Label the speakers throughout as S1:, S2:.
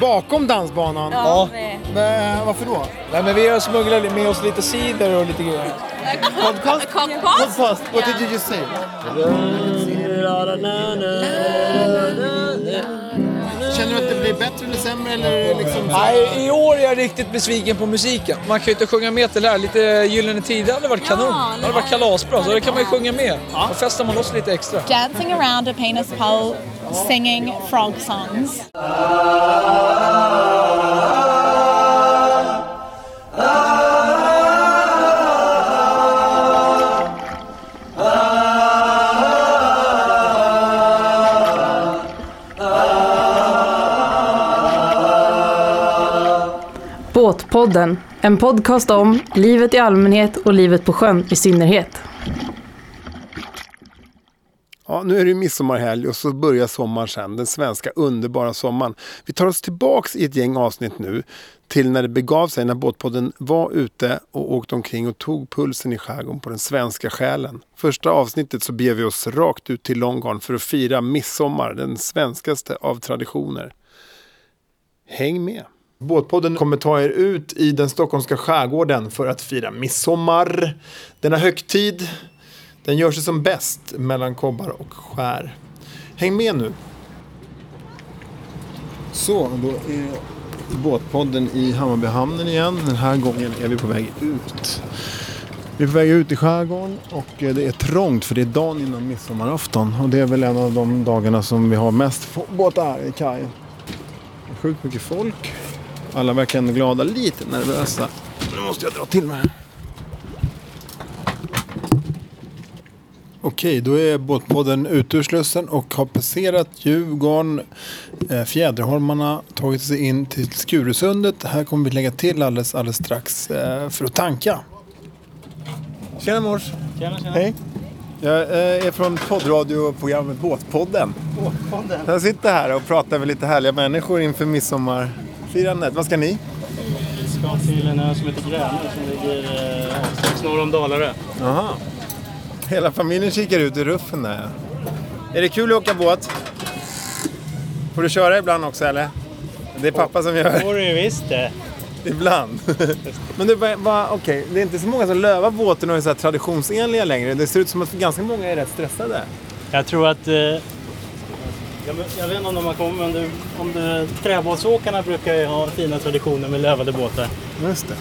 S1: bakom dansbanan.
S2: Ja.
S3: nej.
S1: Men, varför då?
S2: Nej men vi har smugglat med oss lite cider och lite grejer.
S1: Podcast?
S3: Kompass?
S1: Podcast? What did you just say? Känner du att det blir bättre eller sämre eller liksom?
S2: Nej, i år är jag riktigt besviken på musiken. Man kan ju inte sjunga med till det här. Lite Gyllene Tider hade varit kanon. Det hade varit kalasbra, så det kan man ju sjunga med. Då festar man loss lite extra.
S4: dancing around a penis pole, singing frog songs.
S5: Båtpodden, en podcast om livet i allmänhet och livet på sjön i synnerhet.
S1: Ja, nu är det ju midsommarhelg och så börjar sommaren sen. Den svenska underbara sommaren. Vi tar oss tillbaks i ett gäng avsnitt nu till när det begav sig, när båtpodden var ute och åkte omkring och tog pulsen i skärgården på den svenska själen. Första avsnittet så beger vi oss rakt ut till Långgarn för att fira midsommar, den svenskaste av traditioner. Häng med! Båtpodden kommer ta er ut i den stockholmska skärgården för att fira midsommar. Denna högtid den gör sig som bäst mellan kobbar och skär. Häng med nu.
S6: Så, då är båtpodden i Hammarbyhamnen igen. Den här gången är vi på väg ut. Vi är på väg ut i skärgården och eh, det är trångt för det är dagen innan midsommarafton. Och det är väl en av de dagarna som vi har mest få- båtar i kajen. Det är Sjukt mycket folk. Alla verkar ändå glada, lite nervösa. Nu måste jag dra till mig här.
S1: Okej, då är båtpodden ute ur Slussen och har passerat Djurgården, eh, Fjäderholmarna, tagit sig in till Skurusundet. Här kommer vi lägga till alldeles, alldeles strax eh, för att tanka.
S6: Tjena mors! Hej! Jag eh, är från poddradioprogrammet Båtpodden. Båtpodden. Jag sitter här och pratar med lite härliga människor inför midsommarfirandet. Vad ska ni?
S7: Vi ska till en ö som heter Gränö som ligger eh, strax norr om Dalarö.
S6: Aha. Hela familjen kikar ut i ruffen där. Är det kul att åka båt? Får du köra ibland också eller? Det är pappa som gör.
S7: får du visst det.
S6: Ibland. Men du, va, va, okej, det är inte så många som lövar båten och är så här traditionsenliga längre. Det ser ut som att ganska många är rätt stressade.
S7: Jag tror att... Eh, jag, jag vet inte om de har kommit, men du, om du, träbåtsåkarna brukar ju ha fina traditioner med lövade båtar.
S6: Just det.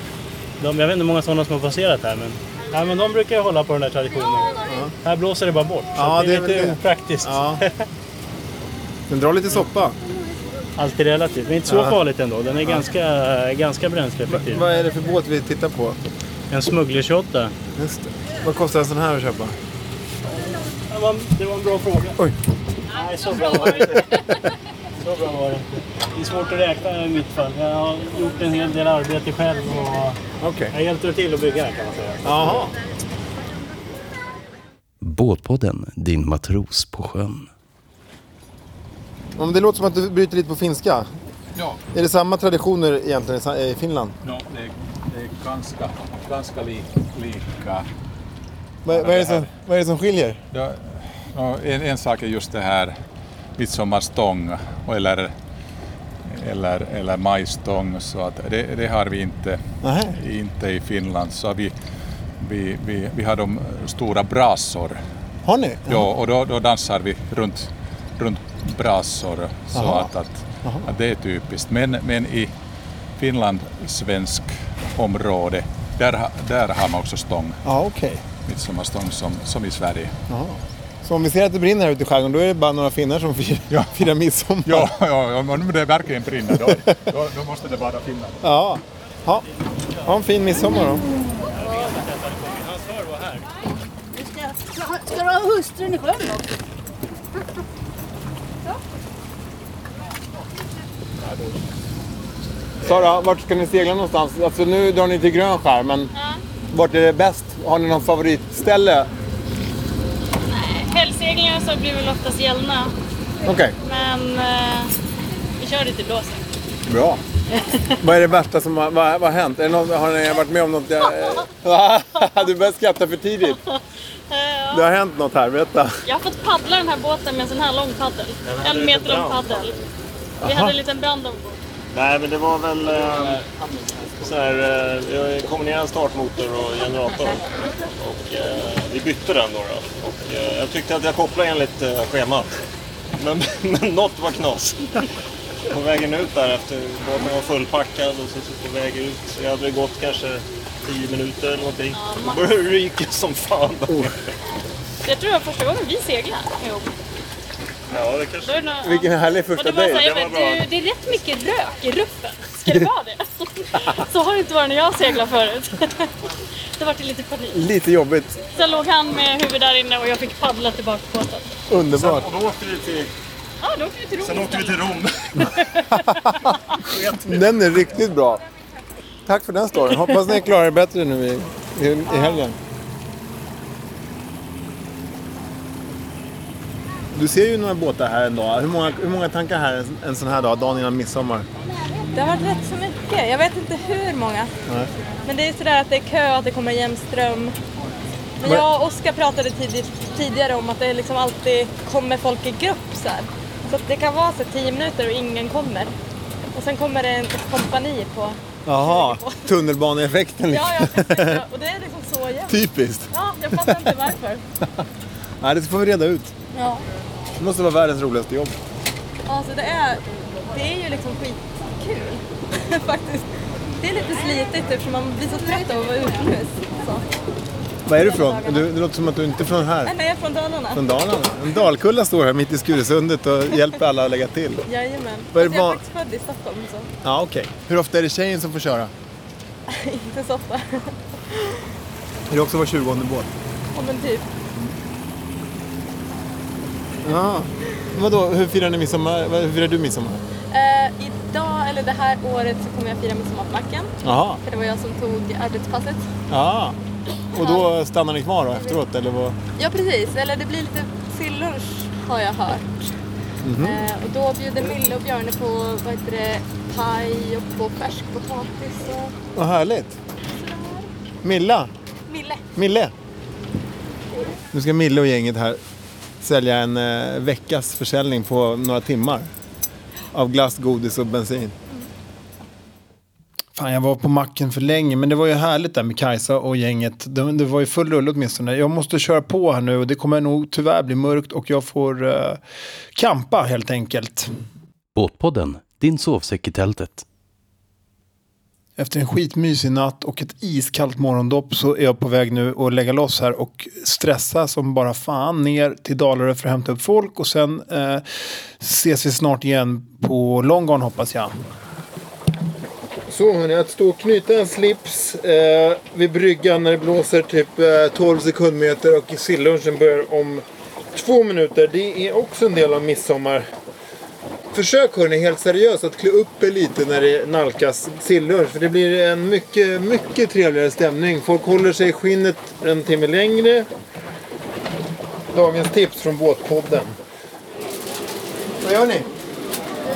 S7: De, jag vet inte hur många sådana som har passerat här, men, nej, men de brukar ju hålla på den här traditionen. Här blåser det bara bort. så
S6: Ja,
S7: det är
S6: det är
S7: lite
S6: väl det.
S7: opraktiskt.
S6: Ja. Den drar lite soppa.
S7: Allt är relativt, men inte så
S6: Ja.
S7: farligt ändå. Den är ganska, ganska bränsleeffektiv.
S6: Vad är det för båt vi tittar på?
S7: En smuggler-28.
S6: Just det. Vad kostar en sån här att köpa?
S7: Det var, det var en bra fråga.
S6: Oj.
S7: Nej, så bra var det inte. Så bra var det inte. Det är svårt att räkna i mitt fall. Jag har gjort en hel del arbete själv och
S6: Okej.
S7: jag hjälpte till att bygga här kan man säga.
S6: Jaha.
S8: Båtpodden, din matros på sjön.
S6: Om det låter som att du bryter lite på finska.
S9: Ja.
S6: Är det samma traditioner egentligen i Sa- i Finland?
S9: No, det, är, det är ganska, ganska li, lika.
S6: Vad, vad, är det som, vad är det som skiljer?
S9: Ja, no, en, en sak är just det här midsommarstång och eller, eller, eller majstång. Så att det, det har vi inte,
S6: Nej.
S9: inte i Finland. Så vi, vi, vi, vi har de stora brasor.
S6: Har ni?
S9: Ja, och då, då dansar vi runt, runt brasor. Så
S6: Aha.
S9: att, att, att det är typiskt. Men, men i finlandssvensk område, där, ha- där har man också stång,
S6: Ja, okej.
S9: midsommarstång som, som i Sverige.
S6: Så om vi ser att det brinner här ute i skärgården, då är det bara några finnar som firar,
S9: Ja.
S6: firar midsommar?
S9: Ja, ja, om om det verkligen brinner då, då, då måste det vara Finland.
S6: Ja. Ha. ha en fin midsommar då.
S10: Ska du ha hustrun i sjön också?
S6: Sara, vart ska ni segla någonstans? Alltså nu drar ni till grön skär, men vart är det bäst? Har ni någon favoritställe?
S11: Helgseglingar så blir väl oftast gällna,
S6: Okej,
S11: men eh, vi kör lite blåsen.
S6: bra. vad är det värsta som har, vad, vad har hänt? Är det någon, har ni varit med om något? eh, du börjar skratta för tidigt. Det har hänt något här, berätta.
S11: Jag har fått paddla den här båten med en sån här lång paddel. En meter lång paddel. Vi hade en liten brand ombord.
S7: Nej, men det var väl eh, så här, eh, jag kombinerade startmotor och generator. Och, eh, vi bytte den då. då. Och, eh, jag tyckte att jag kopplade enligt eh, schemat. Men, men något var knas. På vägen ut där efter båten var fullpackad och så, så på väg ut. Så jag hade gått kanske 10 minuter eller någonting. Då började det ryka som fan.
S12: Jag tror det var första gången vi seglade ihop.
S7: Ja, det
S12: Då är det nog-
S7: Vilken härlig
S12: Och det, var så här, jag vet, du, det är rätt mycket rök i ruffen. Ska det vara det? så har det inte varit när jag seglade förut. Då var det lite panik.
S6: Lite jobbigt.
S12: Sen låg han med huvudet där inne och jag fick paddla tillbaka på båten.
S6: Underbart.
S7: och då åkte vi till...
S12: Ja, då åkte vi till Rom
S7: Sen åkte vi till Rom.
S6: Den är riktigt bra. Tack för den storyn. Hoppas ni klarar er bättre nu i, i, i helgen. Du ser ju några båtar här en dag. Hur många, hur många tankar här en, en sån här dag, dagen innan midsommar?
S11: Det har varit rätt så mycket. Jag vet inte hur många.
S6: Nej.
S11: Men det är sådär att det är kö och att det kommer jämn ström. Men
S6: Men-
S11: jag och Oskar pratade tidigt, tidigare om att det liksom alltid kommer folk i grupp så här. Så att det kan vara så här 10 minuter och ingen kommer. Och sen kommer det en- ett kompani på.
S6: Jaha, tunnelbaneeffekten.
S11: Ja, ja, precis. Ja, Och det är liksom så jämnt.
S6: Typiskt.
S11: Ja, jag fattar inte varför.
S6: Nej, det får vi reda ut.
S11: Ja.
S6: Det måste vara världens roligaste jobb.
S11: Alltså det är, det är ju liksom skitkul faktiskt. Det är lite slitigt eftersom man blir så trött av att vara utomhus. Så.
S6: Var är du ifrån? Du, det låter som att du inte är från här.
S11: Nej, nej, jag är från Dalarna.
S6: Från Dalarna. En dalkulla står här mitt i Skuresundet och hjälper alla att lägga till.
S11: Jajamän.
S6: Vad är
S11: Fast
S6: det
S11: jag är
S6: van-
S11: faktiskt född i Stockholm så
S6: Ja, okej. Hur ofta är det tjejen som får köra?
S11: inte så ofta.
S6: Är det också var 20 båt?
S11: Ja men typ.
S6: Ja. Vadå, hur firar ni midsommar? Vad- Hur firar du midsommar?
S11: Eh, idag, eller det här året, så kommer jag fira midsommar på backen.
S6: Jaha.
S11: För det var jag som tog arbetspasset.
S6: Ja. Och då stannar ni kvar då efteråt eller vad?
S11: Ja precis, eller det blir lite sillunch har jag hört.
S6: Mhm.
S11: Eh, och då bjuder Mille och Björne på vad heter det, paj och på färsk potatis och
S6: Vad härligt. Milla.
S11: Mille.
S6: Mille. Nu ska Mille och gänget här sälja en eh, veckas försäljning på några timmar. Av glass, godis och bensin. Fan, jag var på macken för länge, men det var ju härligt där med Kajsa och gänget. Det, det var ju full rulle åtminstone. Jag måste köra på här nu och det kommer nog tyvärr bli mörkt och jag får eh, kampa helt enkelt.
S8: Båtpodden, din sovsäck i tältet.
S6: Efter en skitmysig natt och ett iskallt morgondopp så är jag på väg nu att lägga loss här och stressa som bara fan ner till Dalarö för att hämta upp folk och sen eh, ses vi snart igen på Långgården hoppas jag. Så hörni, att stå och knyta en slips eh, vid bryggan när det blåser typ eh, 12 sekundmeter och sillunchen börjar om två minuter. Det är också en del av midsommar. Försök hörni, helt seriöst, att klä upp er lite när det nalkas sillunch. För det blir en mycket, mycket trevligare stämning. Folk håller sig i skinnet en timme längre. Dagens tips från Båtpodden. Vad gör ni?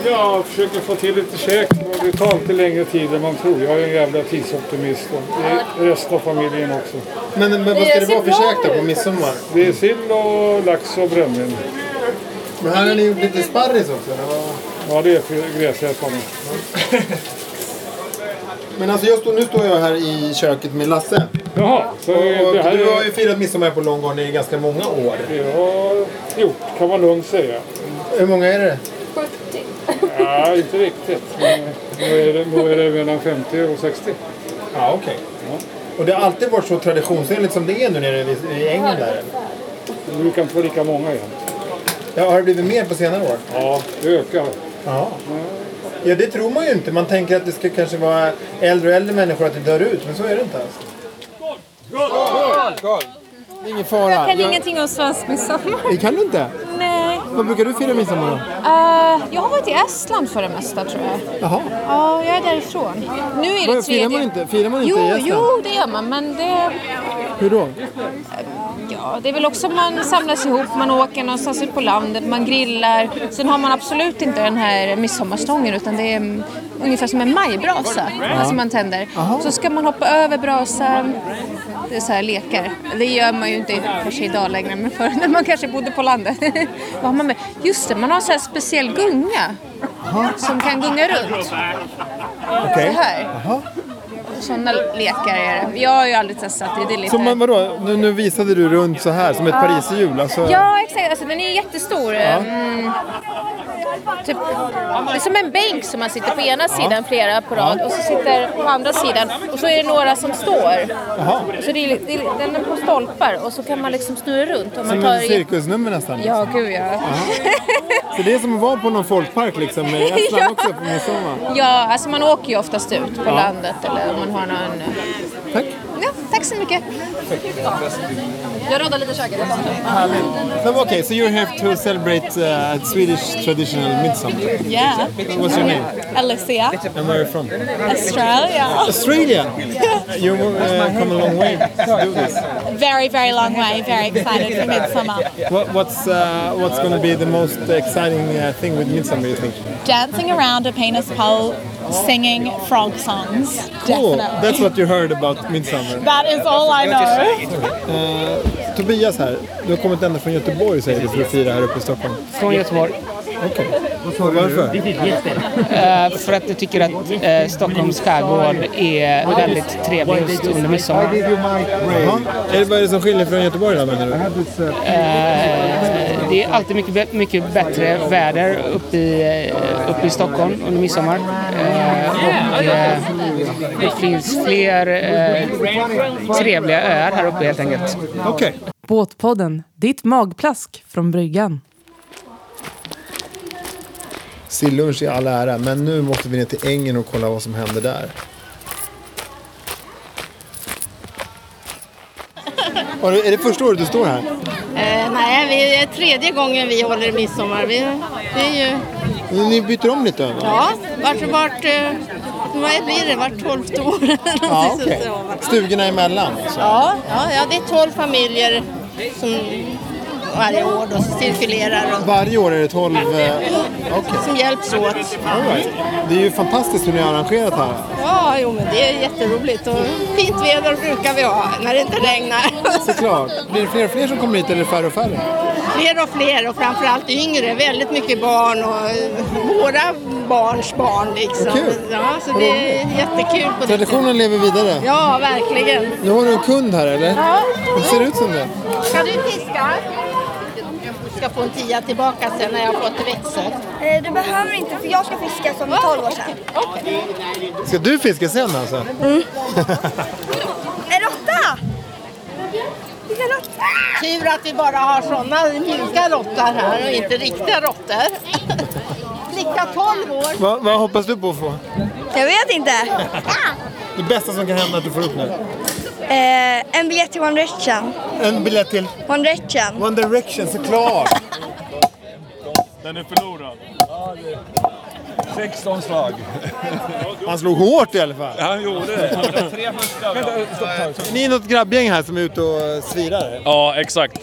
S13: Ja, försöker få till lite käk. Det tar alltid längre tid än man tror. Jag är en jävla tidsoptimist. Och det är resten av familjen också.
S6: Men, men vad ska det vara för käk då på midsommar?
S13: Det är sill och lax och brännvin.
S6: Men här har ni gjort lite sparris också. eller vad?
S13: Ja, det är för gräsätarna.
S6: Men alltså jag står, nu står jag här i köket med Lasse.
S13: Jaha, så
S6: och, och
S13: det här
S6: du
S13: är-
S6: har ju firat midsommar på Långgården i ganska många år.
S13: Det har gjort, kan man lugnt säga.
S6: Hur många är det?
S13: Ja, inte riktigt. Men nu är det, nu är det mellan 50 och 60.
S6: Ja, okej. Och det har alltid varit så traditionsenligt som det är nu nere vid- i England där?
S13: Du kan få lika många igen.
S6: Ja, har det blivit mer på senare år?
S13: Ja, det ökar.
S6: Ja. Ja, det tror man ju inte. Man tänker att det ska kanske vara äldre och äldre människor att det dör ut, men så är det inte alls. Skål! Ingen fara.
S4: Jag kan
S6: Jag-
S4: ingenting om svensk midsommar.
S6: Det kan du inte?
S4: Nej.
S6: Vad brukar du fira midsommar då?
S4: Eh, jag har varit i Estland för det mesta tror jag.
S6: Jaha.
S4: Ja, jag är därifrån. Nu är det
S6: Vad, firar
S4: tredje.
S6: man inte- firar man inte
S4: jo,
S6: i Estland?
S4: Jo, det gör man, men det...
S6: Hur då?
S4: Ja, det är väl också man samlas ihop, man åker någonstans ut på landet, man grillar. Sen har man absolut inte den här midsommarstången utan det är mm, ungefär som en majbrasa
S14: Ja.
S4: som man tänder. Så ska man hoppa över brasan. Det är så här lekar. Det gör man ju inte kanske idag längre men förr när man kanske bodde på landet. Vad har man med? Just det, man har så här speciell gunga.
S15: som kan gunga runt.
S6: Okej.
S15: Så här. Sådana lekar är det. Jag har ju aldrig testat det. det är lite...
S6: Så man, vadå, nu, nu visade du runt så här som ett
S15: Ja.
S6: pariserhjul. Alltså,
S15: Ja, exakt. Alltså, den är ju jättestor.
S6: Ja.
S15: Mm. Typ, det är som en bänk som man sitter på ena sidan flera på rad och så sitter på andra sidan och så är det några som står.
S6: Jaha.
S15: Så det är, li- det är, den är på stolpar och så kan man liksom snurra runt. Om man
S6: Som
S15: tar
S6: ett
S15: i...
S6: cirkusnummer nästan.
S15: Ja, gud ja.
S6: Så det är som att vara på någon folkpark liksom i Estland
S15: Ja.
S6: också på midsommar.
S15: Ja, alltså man åker ju oftast ut på
S6: Ja.
S15: landet eller om man har någon... eh,
S6: Tack.
S15: Ja, tack så mycket. Jag råddar lite köket.
S6: No, Okej, so you're here to celebrate uh, at Swedish traditional midsummer.
S4: Yeah.
S6: What's your name?
S4: Alexia.
S6: And where are you from?
S4: Australia.
S6: Australia. You uh, come a long way to do this.
S4: Very, very long way. Very excited for Midsummer.
S6: What, what's uh, what's going to be the most exciting uh, thing with midsummer? You think?
S4: Dancing around a penis pole, singing frog songs.
S6: Cool.
S4: Definitely.
S6: That's what you heard about midsummer.
S4: That is all I know.
S6: Eh, Tobias här, du har kommit ända från Göteborg säger du för att fira här uppe i Stockholm.
S16: Från Göteborg.
S6: Okej. Varför?
S16: Eh, för att jag tycker att eh, Stockholms skärgård är väldigt trevlig just under midsommar.
S6: Jaha. Är det- Vad är det som skiljer från Göteborg då menar du?
S16: Eh, det är alltid mycket, bä- mycket bättre väder uppe i, eh, uppe i Stockholm under midsommar. Eh, och eh, det finns fler eh, trevliga öar här uppe helt enkelt.
S6: Okej.
S5: Båtpodden, ditt magplask från bryggan.
S6: Sillunch i all ära, men nu måste vi ner till ängen och kolla vad som händer där. Har du- Är det första året du står här?
S11: Eh, nej, vi det är tredje gången vi håller midsommar. Vi, det är ju,
S6: Ni byter om lite? va?
S11: ja, vart, vart, eh, vad blir det, vart tolfte år eller
S6: ja
S11: någonting
S6: okej.
S11: sånt där.
S6: Stugorna emellan? alltså.
S11: Ja, ja, ja, det är tolv familjer som varje år då cirkulerar och
S6: Varje år är det 12... eh,
S11: som hjälps åt.
S6: all right. Det är ju fantastiskt hur ni har arrangerat här.
S11: Ja, jo men det är jätteroligt och fint väder brukar vi ha när det inte regnar.
S6: Såklart. Blir det fler och fler som kommer hit eller färre och färre?
S11: Fler och fler och framförallt yngre, väldigt mycket barn och eh, våra barns barn liksom. Ja, så det är jättekul på det
S6: Traditionen lever vidare.
S11: Ja, verkligen.
S6: Nu har du en kund här eller?
S11: Ja.
S6: Det ser ut som det.
S11: Ska du fiska? Jag ska få en tia tillbaka sen när jag har fått växel.
S17: Eh, Du behöver inte för jag ska fiska som 12 år sedan.
S6: Ska du fiska sen alltså? Mm.
S11: En råtta! Tur att vi bara har sådana mjuka råttor här och inte riktiga råttor. Riktiga 12 år.
S6: vad, vad hoppas du på att få?
S17: Jag vet inte.
S6: Det bästa som kan hända att du får upp nu?
S17: Eh, en biljett till One Direction.
S6: En biljett till?
S17: One Direction.
S6: One Direction, såklart!
S18: Den är förlorad. 16 slag.
S6: Han slog hårt i alla fall.
S18: Han gjorde det. Tre
S6: Ni är något grabbgäng här som är ute och svirar?
S9: Ja, exakt.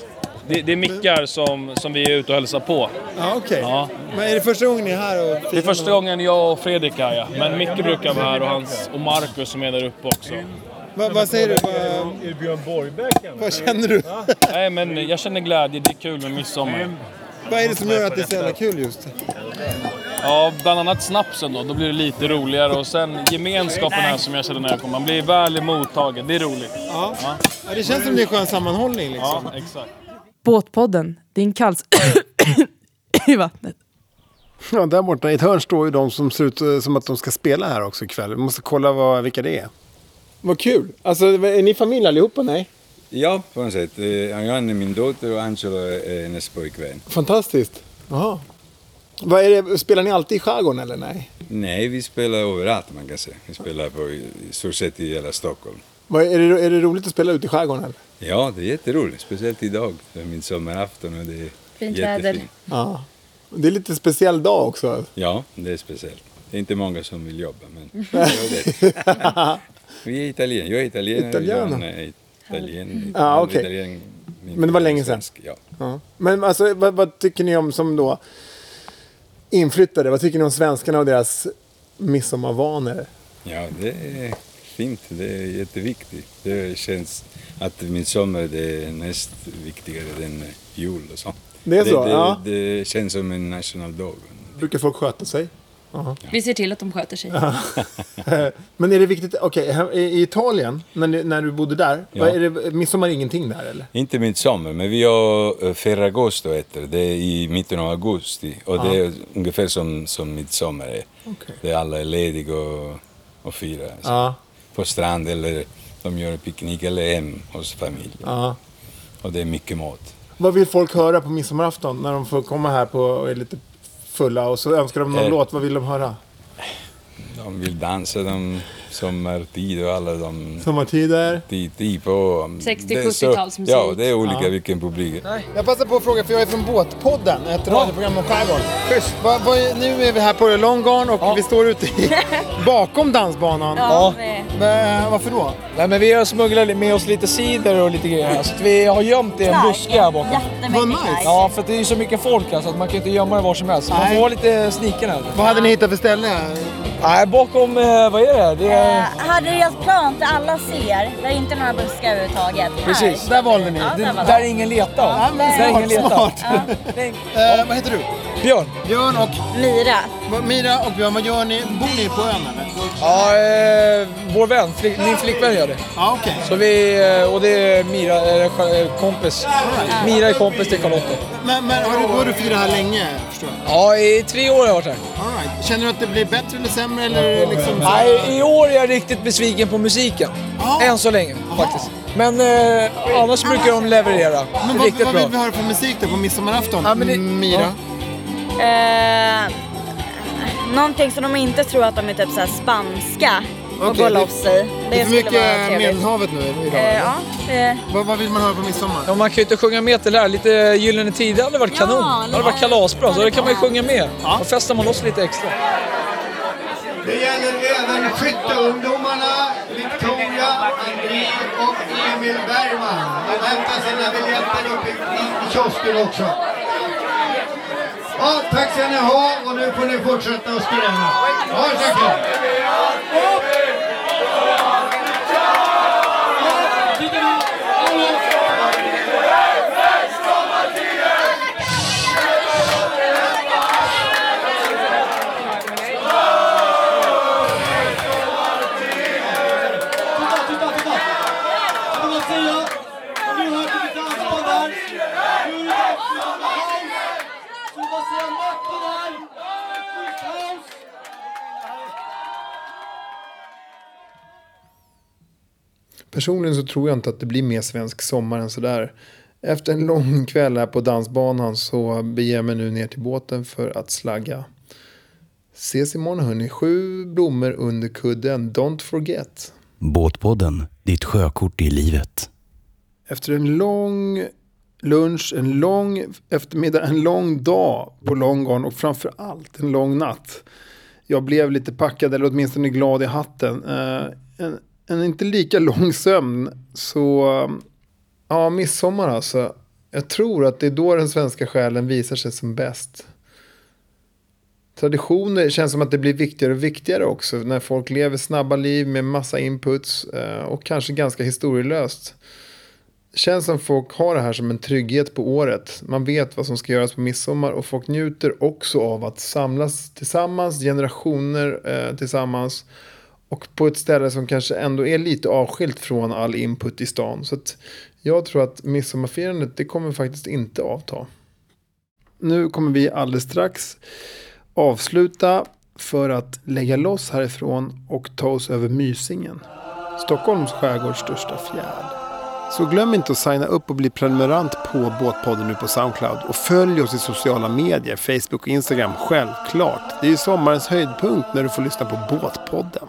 S9: Det, det är mickar som, som vi är ute och hälsar på.
S6: Ja, okej.
S9: Ja.
S6: Men är det första gången ni är här? Och...
S9: Det är första gången jag och Fredrik är ja. Men Micke brukar vara här och, hans, och Marcus som är där uppe också.
S6: Va, vad säger du? Va...
S18: Är det Björn Borgbäck?
S6: Vad känner du?
S9: Nej, men jag känner glädje. Det är kul med midsommar.
S6: Vad är det som gör att det är så jävla kul just?
S9: Ja, bland annat snapsen då. Då blir det lite roligare. Och sen gemenskapen här som jag känner när jag kommer. Man blir väl mottagen. Det är roligt.
S6: Ja. Ja, det känns som det är skön sammanhållning liksom.
S9: Ja, exakt.
S5: Båtpodden, din kalls... i vattnet.
S19: Ja, där borta i ett hörn står ju de som ser ut eh, som att de ska spela här också ikväll. Vi måste kolla vad, vilka det är.
S6: Vad kul! Alltså, är ni familj allihopa? Nej?
S12: Ja, på något sätt. Eh, Johanne är min dotter och Angelo är hennes pojkvän.
S6: Fantastiskt! Jaha. Vad är det? Spelar ni alltid i skärgården eller nej?
S12: Nej, vi spelar överallt man kan säga. Vi spelar på i i stort sett i hela Stockholm.
S6: Vad är, det, är det roligt att spela ute i skärgården? Eller?
S12: Ja, det är jätteroligt. Speciellt idag, för min sommarafton. Och det är
S6: Fint
S12: jättefint.
S6: väder. Ja. Det är lite speciell dag också.
S12: Ja, det är speciellt. Det är inte många som vill jobba, men jag gör det. Vi är italienare. Jag är italienare.
S6: Italiano.
S12: Johanna är italien.
S6: Ja,
S12: Johanna är
S6: okej.
S12: italien, min
S6: Men det var länge sedan.
S12: svensk, Ja.
S6: Ja. Men alltså, vad, vad tycker ni om som då inflyttade? Vad tycker ni om svenskarna och deras midsommarvanor?
S12: Ja, det är fint. Det är jätteviktigt. Det känns att midsommar det är näst viktigare än jul och sånt.
S6: Det är så,
S12: Det,
S6: ja.
S12: det känns som en nationaldag.
S6: Brukar folk sköta sig? Ja.
S20: Vi ser till att de sköter sig.
S6: Eh, Men är det viktigt, okej, här- i Italien, när, ni- när du bodde där,
S12: Ja.
S6: vad är det, midsommar är ingenting där eller?
S12: Inte midsommar, men vi har eh, Ferragosto heter det. det, är i mitten av augusti. Och det är ungefär som, som midsommar är.
S6: Okej.
S12: Där alla är lediga och, och firar. alltså.
S6: Ja.
S12: På strand eller de gör en picknick eller hem hos familjen.
S6: Ja.
S12: Och det är mycket mat.
S6: Vad vill folk höra på midsommarafton när de får komma här på, och är lite fulla och så önskar de någon
S12: Eh.
S6: låt, vad vill de höra?
S12: De vill dansa de sommartid och alla de...
S6: Sommartider?
S12: Tid, tid på...
S6: 60-,
S12: det är så-
S6: 70-talsmusik.
S12: Ja, det är olika
S6: Ja.
S12: vilken publik det är.
S6: Jag passar på att fråga, för jag är från Båtpodden, ett radioprogram om skärgården. Schysst. Va, va, nu är vi här på Långgarn och vi står ute i, bakom dansbanan.
S9: Ja.
S6: Men, eh, varför då?
S9: Nej, men vi har smugglat med oss lite cider och lite grejer. här, Så att vi har gömt det i en
S4: Knark,
S9: buske här bakom.
S4: jättemycket knark.
S9: Ja, för att det är ju så mycket folk här så att man kan inte gömma det var som helst. Man
S6: Nej.
S9: får vara lite sniken här.
S6: Vad hade ni hittat för ställe?
S9: Nej, bakom, eh, vad är det? det är...
S4: Eh, hade deras plan där alla ser, där är inte några buskar överhuvudtaget.
S9: Precis.
S4: Här.
S9: Där valde ni.
S4: Ja,
S9: Det-
S4: där valde
S9: där
S4: vi.
S9: ingen letar.
S4: Ja, nej.
S9: Där ingen letar.
S6: Eh, vad heter du?
S9: Björn.
S6: Björn och?
S4: Mira.
S6: Mira och Björn, vad gör ni? Bor ni på ön eller?
S9: Ja, eh, vår vän, flick, min flickvän gör det.
S6: Ja, okej.
S9: Så vi, eh, och det är Mira, eh, sk- eh, kompis. Mira är kompis till Charlotte.
S6: Men, men har du, har du firat här länge? Förstår jag.
S9: Ja, i tre år har jag varit här.
S6: All right. Känner du att det blir bättre eller sämre? Eller liksom...
S9: Nej, i år är jag riktigt besviken på musiken. Än så länge faktiskt. Men eh, annars brukar de leverera.
S6: alltså, Men vad,
S9: riktigt
S6: vad
S9: bra.
S6: vill vi höra för musik då på midsommarafton?
S9: Ja, men det-
S4: Mm.
S6: Mira?
S9: Ja.
S4: Eh, någonting som de inte tror att de är typ så här spanska och går loss i.
S6: Det är för
S4: skulle vara
S6: mycket
S4: trevligt.
S6: Medelhavet nu idag.
S4: Eh, ja, det...
S6: Vad, vad vill man höra på midsommar?
S9: Ja, man kan ju inte sjunga med till det här. Lite Gyllene Tider hade varit kanon. Det hade varit kalasbra, så det kan man ju sjunga med. Då festar man loss lite extra.
S11: Det gäller även skytteungdomarna Victoria, André och Emil Bergman. De hämtar sina biljetter uppe i, i kiosken också. Ja, tack ska ni ha och nu får ni fortsätta att skrämma. Varsågod!
S21: Titta, titta, titta! Som man säger, har ni hört hur vi dansar där? Nu är det dags för house! Som man säger, Marco där! Fullt house!
S6: Personligen så tror jag inte att det blir mer svensk sommar än sådär. Efter en lång kväll här på dansbanan så beger jag mig nu ner till båten för att slagga. Ses imorgon hörni, sju blommor under kudden, don't forget.
S8: Båtpodden, ditt sjökort i livet.
S6: Efter en lång lunch, en lång eftermiddag, en lång dag på Långgarn och framför allt en lång natt. Jag blev lite packad eller åtminstone glad i hatten. Eh, en, en inte lika lång sömn. Så eh, ja, midsommar alltså. Jag tror att det är då den svenska själen visar sig som bäst. Traditioner känns som att det blir viktigare och viktigare också när folk lever snabba liv med massa inputs eh, och kanske ganska historielöst. Det känns som folk har det här som en trygghet på året. Man vet vad som ska göras på midsommar och folk njuter också av att samlas tillsammans, generationer eh, tillsammans och på ett ställe som kanske ändå är lite avskilt från all input i stan. Så att jag tror att midsommarfirandet det kommer faktiskt inte avta. Nu kommer vi alldeles strax avsluta för att lägga loss härifrån och ta oss över Mysingen. Stockholms skärgårds största fjärd. Så glöm inte att signa upp och bli prenumerant på Båtpodden nu på Soundcloud. Och följ oss i sociala medier, Facebook och Instagram, självklart. Det är ju sommarens höjdpunkt när du får lyssna på Båtpodden.